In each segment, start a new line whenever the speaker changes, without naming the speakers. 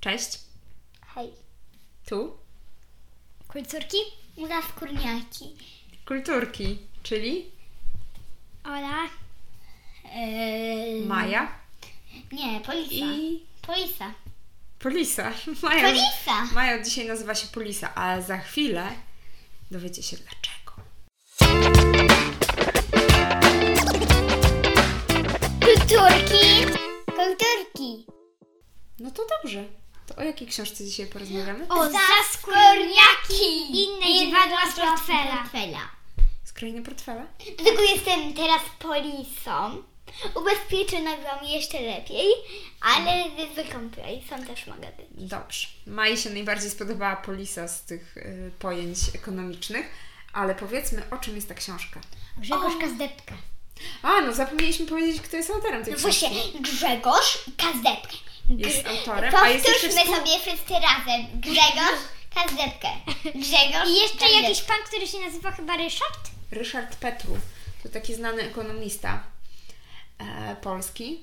Cześć.
Hej.
Tu
Kulturki?
Muraw Kurniaki.
kulturki, czyli
Ola.
Eee,
Maja
Nie, Polisa.
i
Polisa.
Polisa. Maja,
Polisa!
Maja od dzisiaj nazywa się Polisa, a za chwilę dowiecie się dlaczego.
Kulturki! Kulturki!
No to dobrze. To o jakiej książce dzisiaj porozmawiamy?
O,
Zaskurniaki!
Inne dziwadła z portfela.
Z krainy portfela?
Dlatego jestem teraz polisą. Ubezpieczona byłam jeszcze lepiej, ale ze zwykłą polisą też mogę być.
Dobrze. Maji się najbardziej spodobała Polisa z tych y, pojęć ekonomicznych, ale powiedzmy o czym jest ta książka.
Grzegorz Kazdepka.
A, no zapomnieliśmy powiedzieć, kto jest autorem tej
No
książki.
właśnie, Grzegorz i Kazdepkę. Gr-
Jest autorem, a jest jeszcze
Powtórzmy sobie wszyscy razem. Grzegorz, Kazdepkę. Grzegorz,
I jeszcze
Kazdepkę.
jakiś pan, który się nazywa chyba Ryszard?
Ryszard Petru, to taki znany ekonomista e, polski.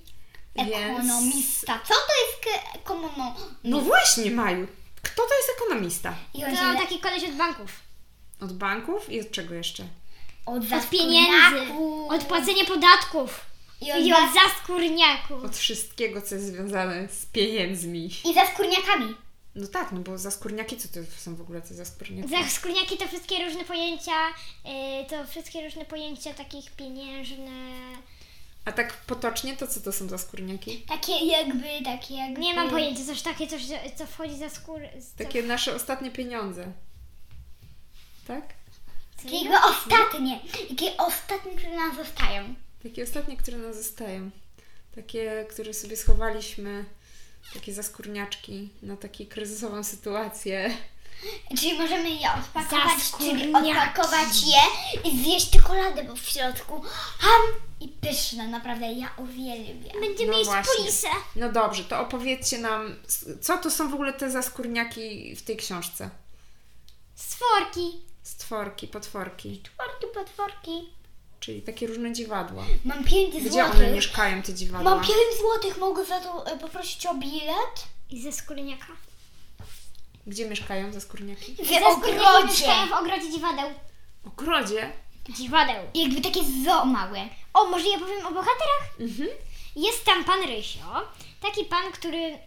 Więc...
Ekonomista. Co to jest k- ekonomo?
No właśnie, Maju. Kto to jest ekonomista?
I
To
on się
taki koleś od banków.
Od banków i od czego jeszcze?
od,
Od pieniędzy. Od płacenia podatków.
I od,
I od zaskórniaków.
Od wszystkiego, co jest związane z pieniędzmi.
I za skórniakami.
No tak, no bo zaskórniaki, co to są w ogóle te zaskórniaki?
Zaskórniaki to wszystkie różne pojęcia, y, to wszystkie różne pojęcia takich pieniężne.
A tak potocznie, to co to są zaskórniaki?
Takie jakby, takie jakby.
Nie mam pojęcia, coś takie, coś, co wchodzi za skór. co-
Takie nasze ostatnie pieniądze. Tak?
co-
Takie jakby ostatnie. Takie ostatnie, które nam zostają.
Takie ostatnie, które nas zostają. Takie, które sobie schowaliśmy, takie zaskórniaczki na taką kryzysową sytuację.
Czyli możemy je odpakować, czyli
Zaskórniaki.
odpakować je i zjeść czekoladę, bo w środku ham i pyszne, naprawdę ja uwielbiam.
Będziemy
No
jeść
właśnie.
polisę.
No dobrze, to opowiedzcie nam, s- co to są w ogóle te zaskórniaki w tej książce?
Stworki.
Stworki, potworki,
Potworki, potworki.
czyli takie różne dziwadła.
Mam 5
Gdzie one
złotych.
mieszkają, te dziwadła?
Mam 5 złotych, mogę za to e, poprosić o bilet?
I ze skórniaka.
Gdzie mieszkają zaskórniaki?
W
Ze skórniaki mieszkają
ogrodzie.
w ogrodzie dziwadeł.
W ogrodzie?
Dziwadeł.
Jakby takie zoo małe.
O, może ja powiem o bohaterach?
Mhm.
Jest tam pan Rysio, taki pan, który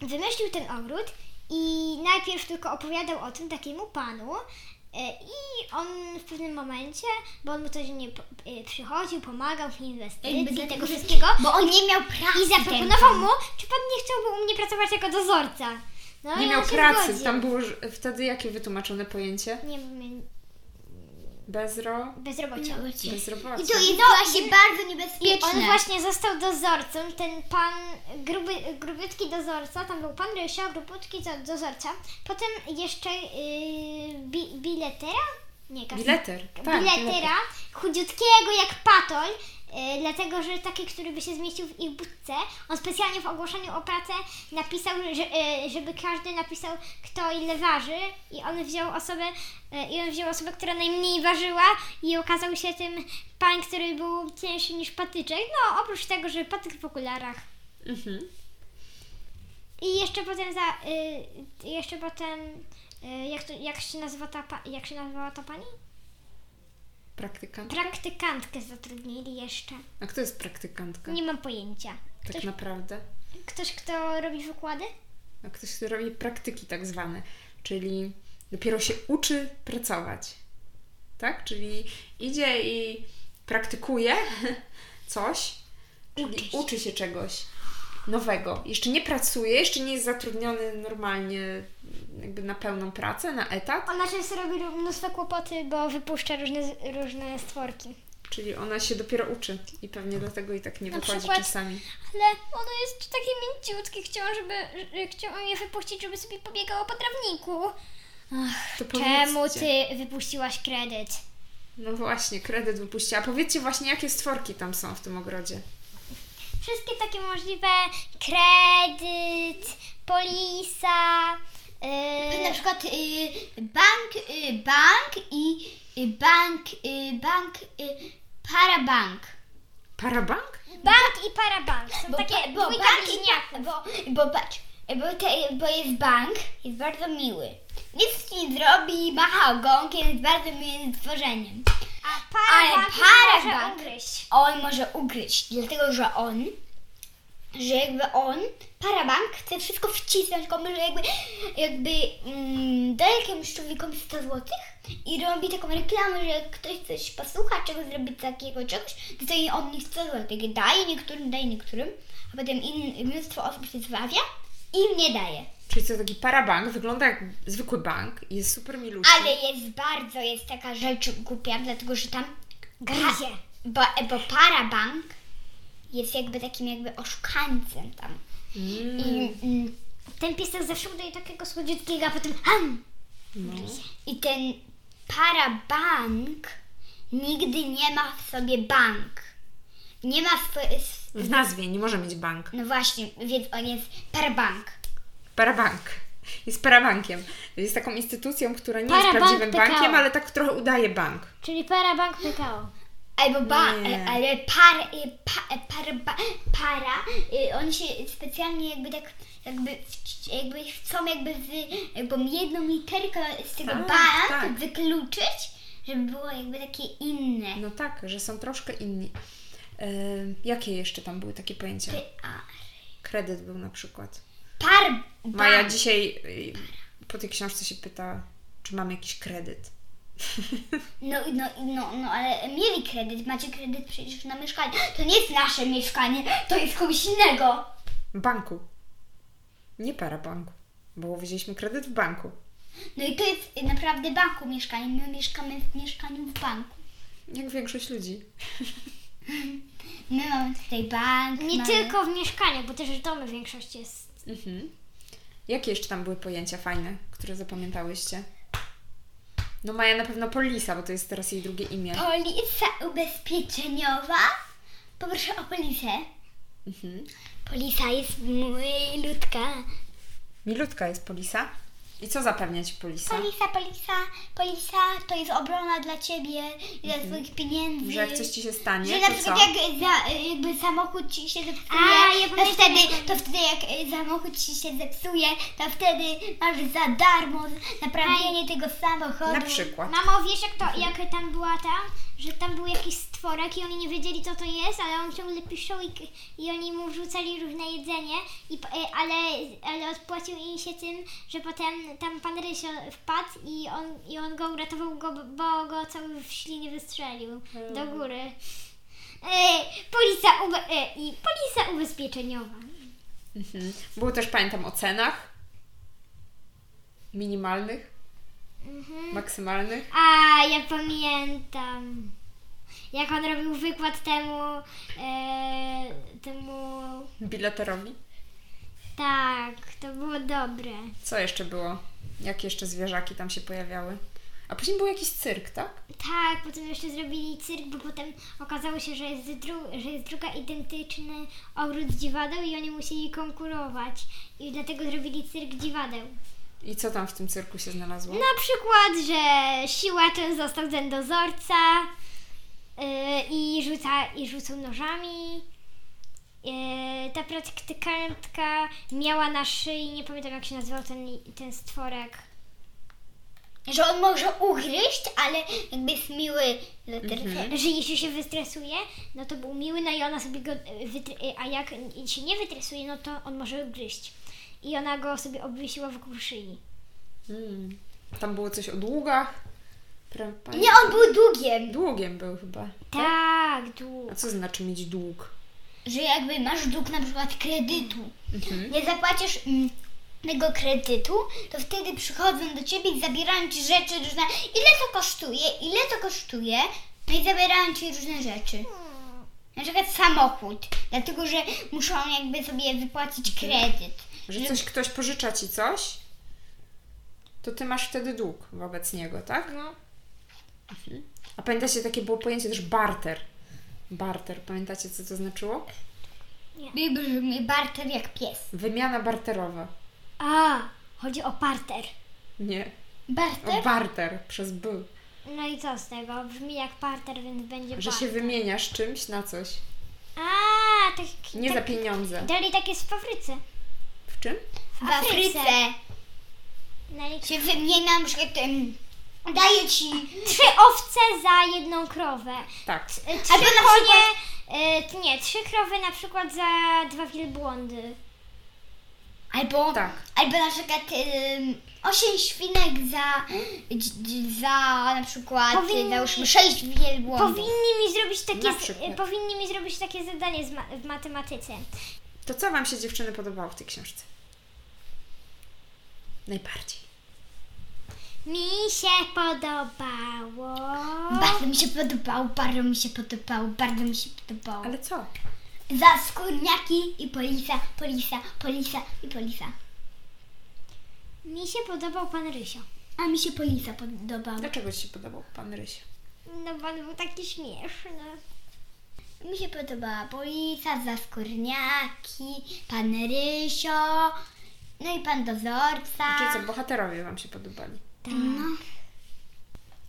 wymyślił ten ogród i najpierw tylko opowiadał o tym takiemu panu y, i on w pewnym momencie, bo on mu codziennie po- y, przychodził, pomagał w
Jakby
inwestycji,
dlatego,
tego
że-
wszystkiego
Bo on nie miał pracy.
i zaproponował mu, czy pan nie chciałby u mnie pracować jako dozorca. No
Nie
i
miał
on się
pracy,
zgodził.
tam było ż- wtedy jakie wytłumaczone pojęcie?
Nie wiem,
Bezro...
bezrobocia.
Bezrobocie.
bezrobocie.
No, I to jest właśnie bardzo
I
niebezpieczne.
on właśnie został dozorcą, ten pan gruby, grubiutki dozorca, tam był pan Rysio, grubutki do- dozorca, potem jeszcze yy, bi, biletera? Nie, kas-
Bileter. Tak,
biletera, chudziutkiego jak patol, yy, dlatego że taki, który by się zmieścił w ich budce, on specjalnie w ogłoszeniu o pracę napisał, że, yy, żeby każdy napisał kto ile waży i on wziął osobę, yy, i on wziął osobę, która najmniej ważyła i okazał się tym pan, który był cięższy niż patyczek, no oprócz tego, że patyk w okularach.
Mhm.
I jeszcze potem za, yy, jeszcze potem, yy, jak, to, jak się nazywa ta, pa- jak się nazywała ta pani?
Praktykant.
Praktykantkę zatrudnili jeszcze.
A kto jest praktykantka?
Nie mam pojęcia.
tak naprawdę.
Ktoś, kto robi wykłady?
A ktoś, kto robi praktyki tak zwane, czyli dopiero się uczy pracować. Tak? Czyli idzie i praktykuje coś, czyli uczy się, czegoś nowego. Jeszcze nie pracuje, jeszcze nie jest zatrudniony normalnie jakby na pełną pracę, na etat,
Ona często robi ró- mnóstwo kłopoty, bo wypuszcza różne, różne stworki.
czyli ona się dopiero uczy i pewnie dlatego i tak nie
No. Na
wychodzi
przykład-
czasami.
Ale ono jest takie mięciutkie, chciałam, żeby, że- chciałam je wypuścić, żeby sobie pobiegało po trawniku.
To
Czemu
powiedzcie.
ty wypuściłaś kredyt?
No właśnie, kredyt wypuściła. Powiedzcie właśnie, jakie stworki tam są w tym ogrodzie.
Wszystkie takie możliwe, kredyt, polisa,
Na
yy,
przykład y, bank, y, bank i y, bank, y, bank, y, parabank.
Parabank?
bank i parabank. Są
Bo,
takie
bo,
dwójka
bank i,
bliźniaków.
bo, bo patrz, Bo, te, bo jest bank, jest bardzo miły. Nic nie zrobi, macha ogonkiem, jest bardzo miłym stworzeniem.
A para
Ale
bank
para
może
bank.
ugryźć.
On może ugryźć, dlatego że on, że jakby on, parabank, chce wszystko wcisnąć komuś, że jakby, jakby mm, daje jakiemuś człowiekowi 100 złotych i robi taką reklamę, że jak ktoś coś posłucha, czegoś zrobi takiego czegoś, to i on nie 100 złotych daje niektórym, daje niektórym, a potem in, mnóstwo osób się zbawia i im nie daje.
Czyli to taki parabank, wygląda jak zwykły bank i jest super miluśny.
Ale jest bardzo, jest taka rzecz głupia, dlatego że tam
Gryzie.
Bo, bo parabank jest jakby takim jakby oszukańcem tam.
Mm,
I, mm,
Ten piesek zawsze udaje takiego słodziutkiego, a potem ham!
no.
I ten parabank nigdy nie ma w sobie bank. Nie ma w, w,
W nazwie nie może mieć bank.
No właśnie, więc on jest parabank.
Parabank. Jest parabankiem. Jest taką instytucją, która nie jest
Parabank
prawdziwym
PKO.
bankiem, ale tak trochę udaje bank.
Czyli para bank PKO.
Albo ba,
No Nie.
ale- ale par, y, pa, y, par, ba, para, y, on się specjalnie jakby tak, jakby, wci- jakby chcą jakby, z, jakby jedną literkę z tego
Tak,
bara
tak.
wykluczyć, żeby było jakby takie inne.
No tak, że są troszkę inni. Em, jakie jeszcze tam były takie pojęcia?
P- a,
Kredyt był na przykład.
Par,
Maja
ba,
dzisiaj y, po tej książce się pyta, czy mam jakiś kredyt.
no, no, no, no, ale mieli kredyt, macie kredyt przecież na mieszkanie. To nie jest nasze mieszkanie, to jest kogoś innego.
Banku. Nie parabanku, bo wzięliśmy kredyt w banku.
No i to jest naprawdę banku mieszkanie, my mieszkamy w mieszkaniu w banku.
Jak większość ludzi.
My mamy tutaj bank.
Nie
mamy...
tylko w mieszkaniu, bo też w domu większość jest.
Mhm. Jakie jeszcze tam były pojęcia fajne, które zapamiętałyście? No Maja na pewno Polisa, bo to jest teraz jej drugie imię.
Polisa ubezpieczeniowa. Poproszę o polisę.
Mhm.
Polisa jest milutka.
Milutka jest Polisa. I co zapewnia Ci Polisa?
Polisa, polisa, polisa to jest obrona dla ciebie i dla swoich pieniędzy.
Mhm. Że jak coś Ci się stanie,
Że na
to
przykład
co?
jak za, jakby samochód ci się zepsuje,
A, ja
to,
pamiętam,
wtedy,
jak-
to wtedy jak y, samochód ci się zepsuje, to wtedy masz za darmo naprawienie tego samochodu.
Na przykład.
Mamo, wiesz jak to, jak tam była ta, że tam był jakiś stworek i oni nie wiedzieli co to jest, ale on ciągle piszą i, i oni mu wrzucali różne jedzenie, i, p- e, ale, ale odpłacił im się tym, że potem tam pan Rysio wpadł i on, i on go uratował, go, bo go cały w ślinie wystrzelił do góry. E, polisa, ube, e, i polisa ubezpieczeniowa.
Mhm. Było też, pamiętam, o cenach. Minimalnych. Maksymalnych.
A, ja pamiętam. Jak on robił wykład temu, e, temu,
Bileterowi.
tak, to było dobre.
Co jeszcze było? Jakie jeszcze zwierzaki tam się pojawiały? A później był jakiś cyrk, tak?
Tak, potem jeszcze zrobili cyrk, bo potem okazało się, że jest, dru- że jest druga identyczny ogród dziwadeł i oni musieli konkurować. I dlatego zrobili cyrk dziwadeł.
I co tam w tym cyrku się znalazło?
Na przykład, że siłaczem został ten dozorca yy, i, rzuca, i rzucał nożami. Yy, ta praktykantka miała na szyi, nie pamiętam jak się nazywał ten, ten stworek.
Że on może ugryźć, ale jakby jest miły dla
Mhm.
terfera.
Mhm. Że jeśli się wystresuje, no to był miły, no i ona sobie go. y, wytr- y, a jak się nie wytresuje, no to on może gryźć. I ona go sobie obwiesiła wokół szyi.
Mm. Tam było coś o długach. Pra- pamię-
Nie, on był długiem.
Długiem był chyba.
Tak, długo.
A co znaczy mieć dług?
Że jakby masz dług na przykład kredytu.
Mhm.
Nie zapłacisz mm, tego kredytu, to wtedy przychodzą do ciebie i zabierają ci rzeczy różne. Ile to kosztuje? Ile to kosztuje? No i zabierają ci różne rzeczy. Na przykład samochód, dlatego że muszą jakby sobie wypłacić
Mhm.
kredyt.
Że coś ktoś pożycza ci coś, to ty masz wtedy dług wobec niego, tak?
No.
Mhm. A pamiętacie, takie było pojęcie też barter. Barter, pamiętacie co to znaczyło?
I brzmi barter jak pies.
Wymiana barterowa.
A, chodzi o parter.
Nie,
Barter?
o barter przez B.
No i co z tego? Brzmi jak parter, więc
Że
będzie
się
barter.
wymieniasz czymś na coś.
A, tak,
Nie za
tak
pieniądze.
dali takie z fabryce.
W czym?
w Afryce.
Najlepsze.
Się wymieniam, że em, daję ci.
Trzy owce za jedną krowę.
Tak.
E, Trzy
Albo na
konie, e, nie, trzy krowy na przykład za dwa wielbłądy.
Albo,
Tak.
albo na przykład em, osiem świnek za, dź- dź- za na przykład
Powinni-
załóżmy sześć wielbłądów.
Powinni mi zrobić takie,
Na
z-
przykład.
e, powinni mi zrobić takie zadanie z ma, w matematyce.
To co Wam się dziewczyny podobało w tej książce? Najbardziej.
Mi się podobało.
Bardzo mi się podobał, bardzo mi się podobał, bardzo mi się podobał.
Ale co?
Za skórniaki i polisa, polisa, polisa i polisa.
Mi się podobał pan Rysio.
A mi się polisa podobał.
Dlaczego Ci się podobał Pan Rysiu?
No bo on był taki śmieszny.
Mi się podobała polisa, za skórniaki, pan Rysio, no i pan dozorca. No
Czyli co, bohaterowie Wam się podobali?
Tak.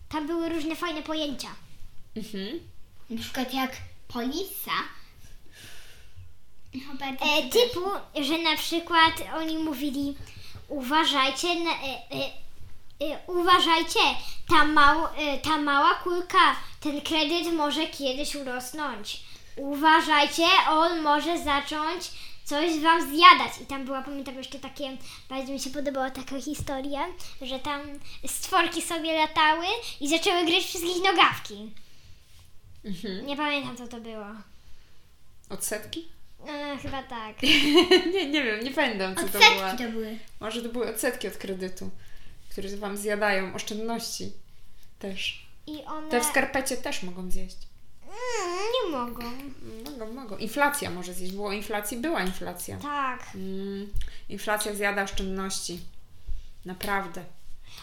Tam były różne fajne pojęcia.
Mhm.
Na przykład jak polisa. No, bardzo
E,
się
typu, że na przykład oni mówili uważajcie, na, e, e, e, uważajcie, ta, mał, e, ta mała kulka, ten kredyt może kiedyś urosnąć. Uważajcie, on może zacząć coś wam zjadać. I tam była, pamiętam jeszcze takie, bardzo mi się podobała taka historia, że tam stworki sobie latały i zaczęły gryźć wszystkich nogawki.
mhm.
Nie pamiętam co to było.
Odsetki?
E, chyba tak.
nie, nie wiem, nie pamiętam co to była.
Odsetki to były.
Może to były odsetki od kredytu, które Wam zjadają oszczędności też.
I one...
Te w skarpecie też mogą zjeść.
Mm, nie mogą.
Mogą, mogą. Inflacja może zjeść. Było o inflacji, była inflacja.
Tak.
Mm, inflacja zjada oszczędności. Naprawdę.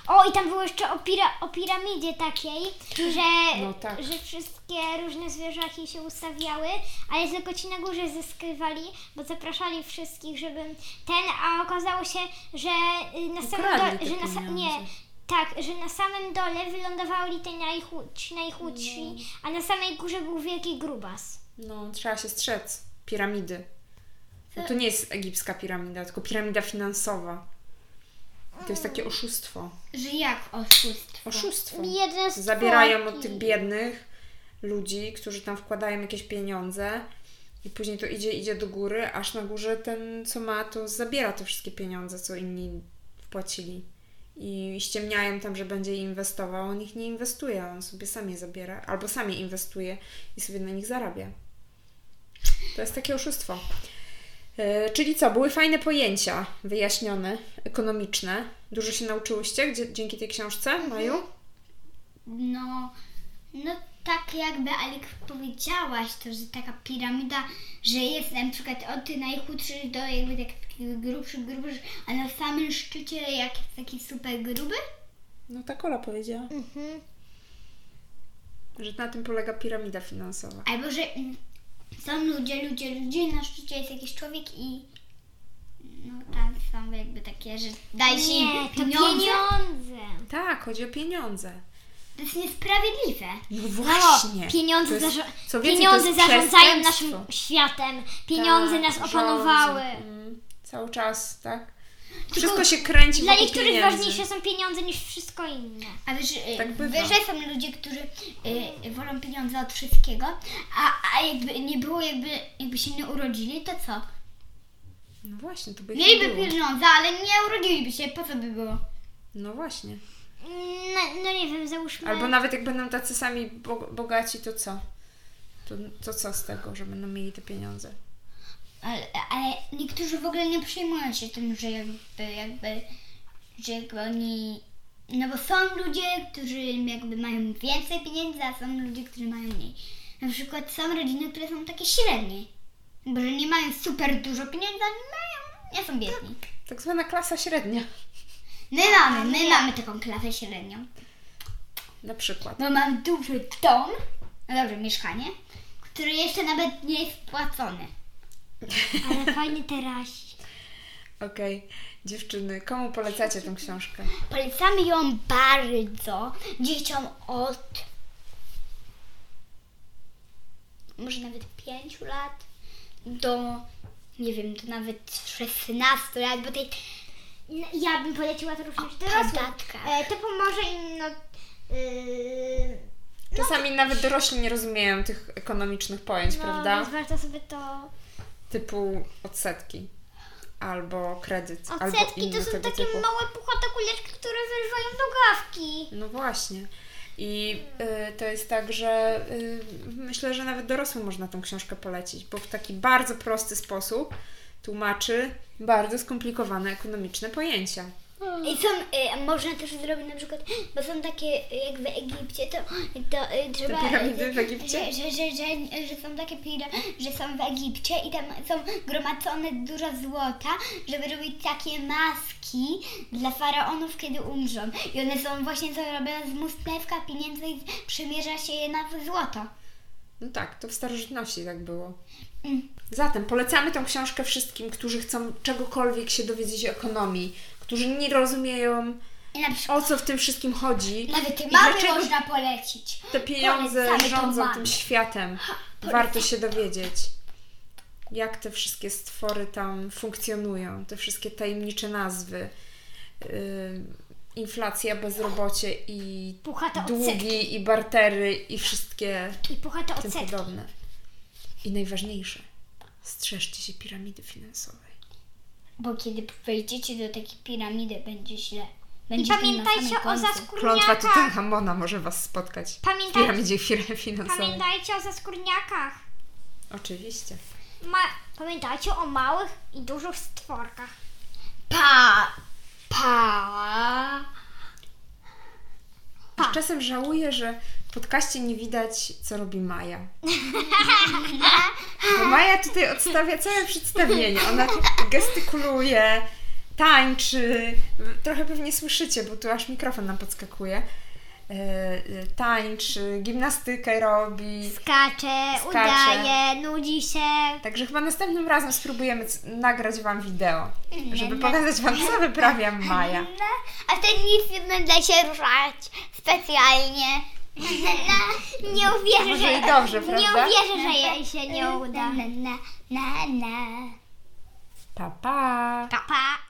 O, i tam było jeszcze o, pira- o piramidzie takiej, że,
No tak.
że wszystkie różne zwierzaki się ustawiały, ale tylko ci na górze zyskiwali, bo zapraszali wszystkich, żeby ten, a okazało się, że y, na samym
Ukradli
dole,
te
że na sa- nie,
pieniądze.
tak, że na samym dole wylądowali te najchudsi, najchudsi a na samej górze był wielki grubas.
No, trzeba się strzec. Piramidy. No to nie jest egipska piramida, tylko piramida finansowa. To jest takie oszustwo.
Że jak oszustwo.
Oszustwo.
Jeden z
Zabierają
tworki.
od tych biednych ludzi, którzy tam wkładają jakieś pieniądze i później to idzie, idzie do góry, aż na górze ten, co ma, to zabiera te wszystkie pieniądze, co inni wpłacili. I ściemniają tam, że będzie je inwestował, on ich nie inwestuje, on sobie sam je zabiera, albo sam je inwestuje i sobie na nich zarabia. To jest takie oszustwo. E, Czyli co, były fajne pojęcia wyjaśnione, ekonomiczne. Dużo się nauczyłyście gdzie, dzięki tej książce, Maju?
No, no tak jakby Alik powiedziałaś to, że taka piramida, że jest na przykład od najchudszych do jakby tak takich grubszych, grubszych, a na samym szczycie jak jest taki super gruby.
No tak Ola powiedziała.
Mhm.
Że na tym polega piramida finansowa.
Albo że mm, są ludzie, ludzie, ludzie, na szczycie jest jakiś człowiek i no tam są jakby takie, że daje się
Nie,
im
to
pieniądze.
pieniądze.
Tak, chodzi o pieniądze.
To jest niesprawiedliwe.
No
O, pieniądze
To jest-
zarza-
co więcej, to
pieniądze
jest
zarządzają
przestępstwo.
naszym światem. Pieniądze
Tak,
nas
rządzą.
opanowały.
Mm, cały czas, tak? Wszystko się kręci
Dla
wokół
niektórych
pieniędzy.
ważniejsze są pieniądze niż wszystko inne.
A wiesz, y,
Tak bywa.
wiesz, że są ludzie, którzy y, wolą pieniądze od wszystkiego, a, a jakby nie było, jakby, jakby się nie urodzili, to co?
No właśnie, to by ich nie
Mieliby
było.
pieniądze, ale nie urodziliby się, po co by było?
No właśnie.
Mm, No, no nie wiem, załóżmy.
Albo nawet jak będą tacy sami bo- bogaci, to co? To, to co z tego, że będą mieli te pieniądze?
Ale, ale niektórzy w ogóle nie przejmują się tym, że jakby, jakby, że jakby oni... No bo są ludzie, którzy jakby mają więcej pieniędzy, a są ludzie, którzy mają mniej. Na przykład są rodziny, które są takie średnie. Bo że nie mają super dużo pieniędzy, ale mają, nie są biedni.
Tak zwana klasa średnia.
My mamy, my mamy taką klasę średnią.
Na przykład.
Bo mam duży dom, no dobrze, mieszkanie, które jeszcze nawet nie jest spłacone.
Ale fajny terasik.
Okej. Dziewczyny, komu polecacie tą książkę?
Polecamy ją bardzo dzieciom od może nawet 5 lat do nie wiem, do nawet 16 lat, bo tej
No, Ja bym poleciła to również dorosłym.
padatka.
E, to pomoże im, no... Yy,
Czasami nawet dorośli nie rozumieją tych ekonomicznych pojęć,
no
prawda?
więc warto sobie to...
Typu odsetki albo kredyt, albo
Odsetki
inne
to są
tego
takie
typu.
małe, puchate kuleczki, które wyrwają do gawki.
No właśnie. I y, to jest tak, że y, myślę, że nawet dorosłym można tą książkę polecić, bo w taki bardzo prosty sposób tłumaczy bardzo skomplikowane ekonomiczne pojęcia.
I są, y, można też zrobić na przykład, bo są takie y, jak w Egipcie, to, to y, trzeba...
piramidy w Egipcie?
Że, że, że, że, że są takie piramidy, że są w Egipcie i tam są gromadzone dużo złota, żeby robić takie maski dla faraonów, kiedy umrzą. I one są właśnie zrobione z mustewka pieniędzy i przymierza się je na złoto.
No tak, to w starożytności tak było.
Mm.
Zatem polecamy tą książkę wszystkim, którzy chcą czegokolwiek się dowiedzieć o ekonomii, którzy nie rozumieją,
I na przykład
o co w tym wszystkim chodzi.
nawet
i
mamy
dlaczego
można polecić.
te pieniądze
No Polecamy tą
rządzą
mamę.
tym światem. Warto się dowiedzieć, jak te wszystkie stwory tam funkcjonują, te wszystkie tajemnicze nazwy. Yy, inflacja, bezrobocie i
Puchate
długi, i bartery, i wszystkie
I puchate
tym
odsetki.
podobne. I najważniejsze, strzeżcie się piramidy finansowej.
Bo kiedy wejdziecie do takiej piramidy, będzie źle.
I
Będzie źle na
pamiętajcie
samym
o
końcu.
Klątwa
zaskórniakach.
Tutanchamona może Was spotkać w
Pamiętaj-
piramidzie fir- finansowej.
Pamiętajcie o zaskórniakach.
Oczywiście.
Ma... Pamiętajcie o małych i dużych stworkach.
Pa! Pa!
Już czasem żałuję, że w podcaście nie widać, co robi Maja. Bo Maja tutaj odstawia całe przedstawienie. Ona gestykuluje, tańczy. Trochę pewnie słyszycie, bo tu aż mikrofon nam podskakuje. E, e, Tańczy, gimnastykę robi.
Skacze,
Skacze.
udaje, nudzi się.
Także chyba następnym razem spróbujemy c- nagrać Wam wideo, żeby
Nie,
pokazać Wam, co wyprawiam Maja.
No, a ten nic nie będę się ruszać specjalnie. No,
Nie uwierzę,
Może i
że...
dobrze,
nie
prawda?
uwierzę, że jej się nie uda.
Na, na, na, na.
Pa, pa!
Pa, pa.